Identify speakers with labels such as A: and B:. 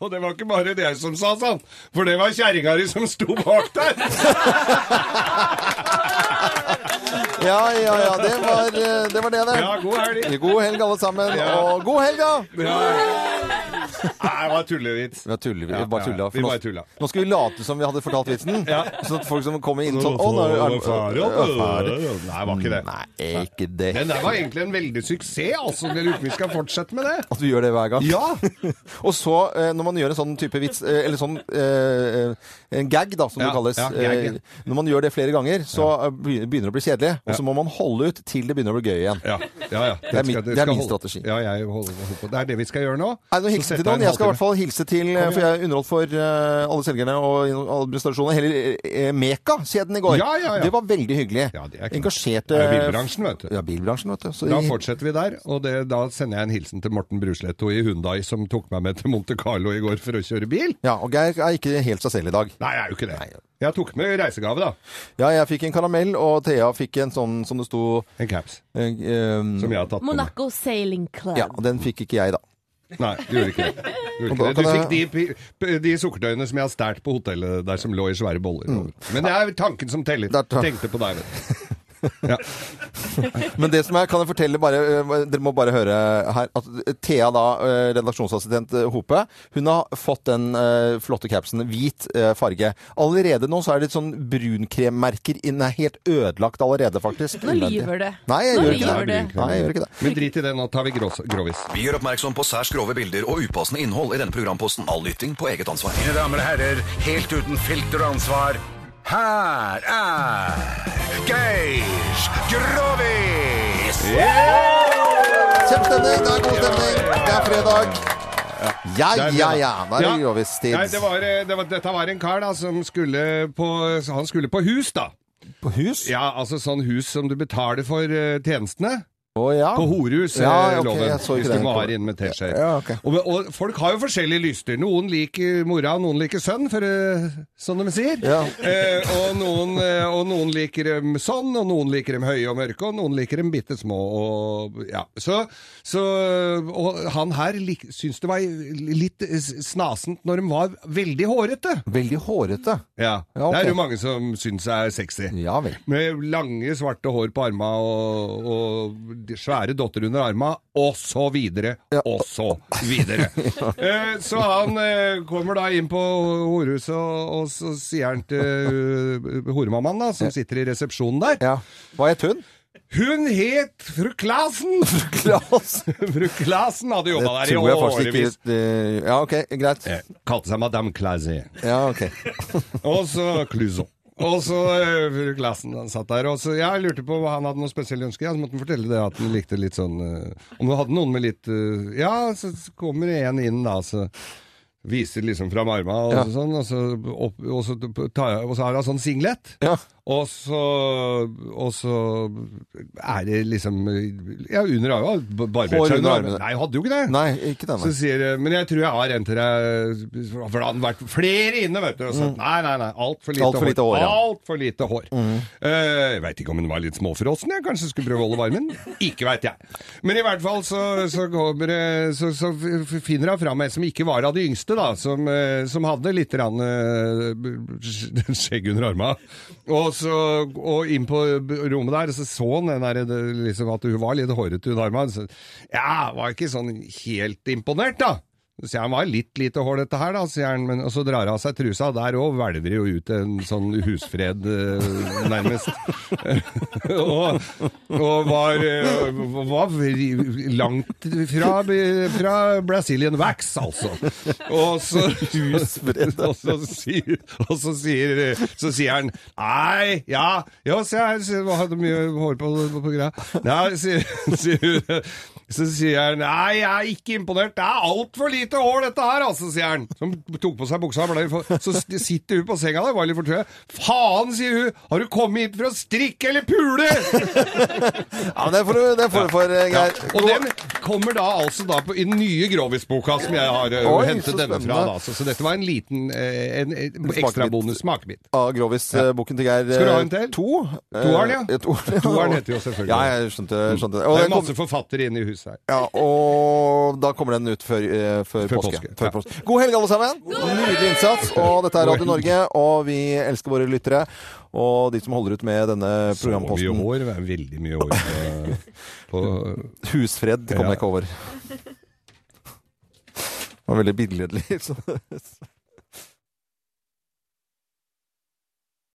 A: Og det var ikke bare det som sa sånn, for det var kjerringa di som sto bak der.
B: Ja, ja, ja. Det var eh, det, var det. det.
A: Ja, god helg.
B: God helg, alle sammen.
A: Ja.
B: Og god helg, da!
A: Ja. Nei, det var tullevits.
B: Vi har tullet, vi
A: Ja,
B: bare
A: ja,
B: tulla.
A: vi
B: nå-
A: bare tulla.
B: Nå skal vi late som vi hadde fortalt vitsen. Sånn at folk som kommer inn sånn Å, nå er det
A: Fare,
B: er-
A: ja.
B: er- er-
A: Nei, det var ikke det.
B: Nei, ikke det.
A: Den der var egentlig en veldig suksess, altså. Dere vi skal fortsette med det.
B: At vi gjør det hver gang.
A: Ja.
B: Og så, eh, når man gjør en sånn type vits, eh, eller sånn eh, en gag, da, som
A: Ja,
B: det kalles
A: ja, gag, ja.
B: eh, Når man gjør det flere ganger, så eh, begynner det å bli kjedelig. Og så må man holde ut til det begynner å bli gøy igjen.
A: Ja, ja, ja.
B: er min-
A: skal-
B: det er
A: skal
B: min
A: holde-
B: strategi.
A: Ja, jeg holder, holder på. Det er det vi skal gjøre nå.
B: Er det noen
A: Så
B: hilsen til
A: setter
B: noen? Jeg skal i
A: en
B: hvert fall hilse til eh, For jeg underholdt for eh, alle selgerne og administrasjonen hele eh, Meka-kjeden i går.
A: Ja, ja, ja.
B: Det var veldig hyggelig.
A: Ja, det er klart.
B: Engasjerte
A: Det er jo bilbransjen, vet du.
B: eh, Ja, bilbransjen, vet du. Så
A: halvtime. Da
B: de-
A: fortsetter vi der, og det, da sender jeg en hilsen til Morten Brusletto i Hyundai som tok meg med til Monte Carlo i går for å kjøre bil.
B: ja, og Geir er ikke helt seg selv i dag.
A: Nei, jeg er jo ikke det. Jeg tok med reisegave, da.
B: Ja, jeg fikk en karamell, og Thea fikk en sånn som det sto
A: En caps.
B: eh, eh,
A: Som jeg har tatt på meg.
C: Monaco Sailing Club.
B: Ja, og den fikk ikke jeg, da.
A: Nei, du gjorde ikke det. Du, gjorde
B: Og da
A: ikke det. du
B: kan
A: fikk de, pi- p- de sukkertøyene som jeg har stært på hotellet der som lå i svære boller. Men det er tanken som teller.
B: Mm. Det er ta-
A: Tenkte på deg, vet du. Ja.
B: Men det som er, kan jeg fortelle bare, eh, Dere må bare høre her at Thea, da, eh, redaksjonsassistent eh, Hope, hun har fått den eh, flotte capsen. Hvit eh, farge. Allerede nå så er det litt sånn brunkremmerker i Den er helt ødelagt allerede, faktisk.
C: Nå lyver du.
B: Nei, jeg
C: Nå
B: gjør ikke
C: lyver
B: det.
A: du.
B: Nei, jeg gjør ikke det.
A: Men drit i det, nå tar vi grås, grovis.
D: Vi gjør oppmerksom på særs grove bilder og upassende innhold i denne programposten. All lytting på eget ansvar.
E: Mine damer og herrer, helt uten filter og ansvar, her er Geir Grovis!
B: Kjempestemning! Det er god stemning! Det er fredag. Ja, ja, ja. Da er det
A: Ja. Nei,
B: grovis-tid.
A: det var, eh, det var, dette var en kar da, som skulle på, han skulle på hus, da.
B: På hus? Å
A: Ja, altså sånn hus som du betaler for eh, tjenestene.
B: ja.
A: På horehus, eh,
B: Ja, ok,
A: loven,
B: jeg så ikke
A: hvis
B: det.
A: du må ha det inn med teskje.
B: Ja, ok.
A: og, og folk har jo forskjellige lyster. Noen liker mora, og noen liker sønn, for eh, sånn de sier.
B: Ja.
A: Eh, og, noen, eh, og noen liker dem sånn, og noen liker dem høye og mørke, og noen liker dem bitte små. Og, ja. så, så, og han her lik, syntes det var litt eh, snasent når de var veldig hårete.
B: Veldig hårete.
A: Ja,
B: Ja, ok.
A: Det er jo mange som syns er sexy.
B: Ja vel.
A: Med lange, svarte hår på arma og, og de svære dotter under arma, og så videre, og så videre. Eh, så han eh, kommer da inn på horehuset, og, og så sier han til uh, horemammaen, da, som sitter i resepsjonen der
B: Ja. Hva het hun?
A: Hun het fru Klasen!
B: Klas.
A: fru Klasen hadde
B: Det
A: jobba der i
B: tror jeg faktisk ikke
A: årevis.
B: eh, Ja, OK. Greit.
A: Eh, Kalte seg Madame Clasie.
B: Ja, OK.
A: Og så Clouseau. Og så eh, fru Klassen han satt der. Og så jeg lurte på hva han hadde noen spesielle ønsker. Ja, så måtte han fortelle det at han likte litt sånn eh, Om du hadde noen med litt eh, Ja, så så kommer det en inn, da. så Viser liksom fram arma og
B: Ja.
A: sånn, og så, opp, og, så tar jeg, og så har hun sånn singlet.
B: Ja.
A: Og så, og så er det liksom Ja, under armen. Barbert
B: Hår
A: seg
B: under
A: under armen.
B: armene.
A: Nei, hadde jo ikke det.
B: Nei, ikke denne.
A: Så sier de, men jeg tror jeg har en til deg, for da hadde det vært flere inne, vet du. Og så, nei, nei, nei, altfor lite,
B: Alt for lite hår, ja.
A: Alt for lite hår. Eh, jeg veit ikke om hun var litt småfrossen, jeg. Kanskje skulle prøve å holde varmen. Ikke veit jeg. Men i hvert fall så, så, kommer, det- så, så f- finner hun fram ei som ikke var av de yngste, da. Som, eh, som hadde litt rann, eh, skjegg under arma. Og, så, og inn på rommet der, så så han den der, det- liksom, at hun var litt hårete under arma. Så, ja, var ikke sånn helt imponert, da. Så sier han var litt lite hår dette her, da, sier han, men, og så drar han av seg trusa, og der òg hvelver det jo ut en sånn husfred, eh, nærmest. og, og var, eh, var vri- langt fra, fra Brazilian Wax, altså. Og så, og så sier, og så sier, så sier han Nei, ja, ja, se her, sier- hadde mye hår på, på, på greia. Nei, sier, sier hun så sier han Nei, jeg er ikke imponert. Det er altfor lite hår, dette her, altså, sier han. Som tok på seg buksa. Ble, for- så st- sitter hun på senga der, var litt fortøyd. Faen, sier hun. Har du kommet hit for å strikke eller pule?
B: Ja, men det får du det får du for, eh,
A: Ja,
B: Geir.
A: og den kommer da altså da på, i den nye Grovis-boka som jeg har eh,
B: Oi, så
A: hentet denne fra.
B: spennende.
A: Da, så, så dette var en liten eh, en, en
B: Smakebit.
A: ekstra bonus smakebit.
B: av Grovis-boken til Geir.
A: Skal du ha en
B: eh,
A: til?
B: To. Eh,
A: Toeren, ja.
B: Toeren, ja.
A: Toeren heter jo selvfølgelig.
B: Ja, jeg skjønte, skjønte det. Og
A: Det er
B: den kom-
A: masse forfattere inne i huset. Paradise her.
B: Ja, og da kommer den ut før, eh, før,
A: Før
B: påske.
A: påske,
B: Før
A: ja.
B: påske. God helg, alle sammen! Nydelig innsats. Og dette er Radio Norge, og vi elsker våre lyttere. Og de som holder ut med denne
A: Så mye
B: programposten.
A: hår. Det er veldig mye hår på, på
B: Husfred kom
A: Ja.
B: jeg ikke over. Det var veldig billedlig. så-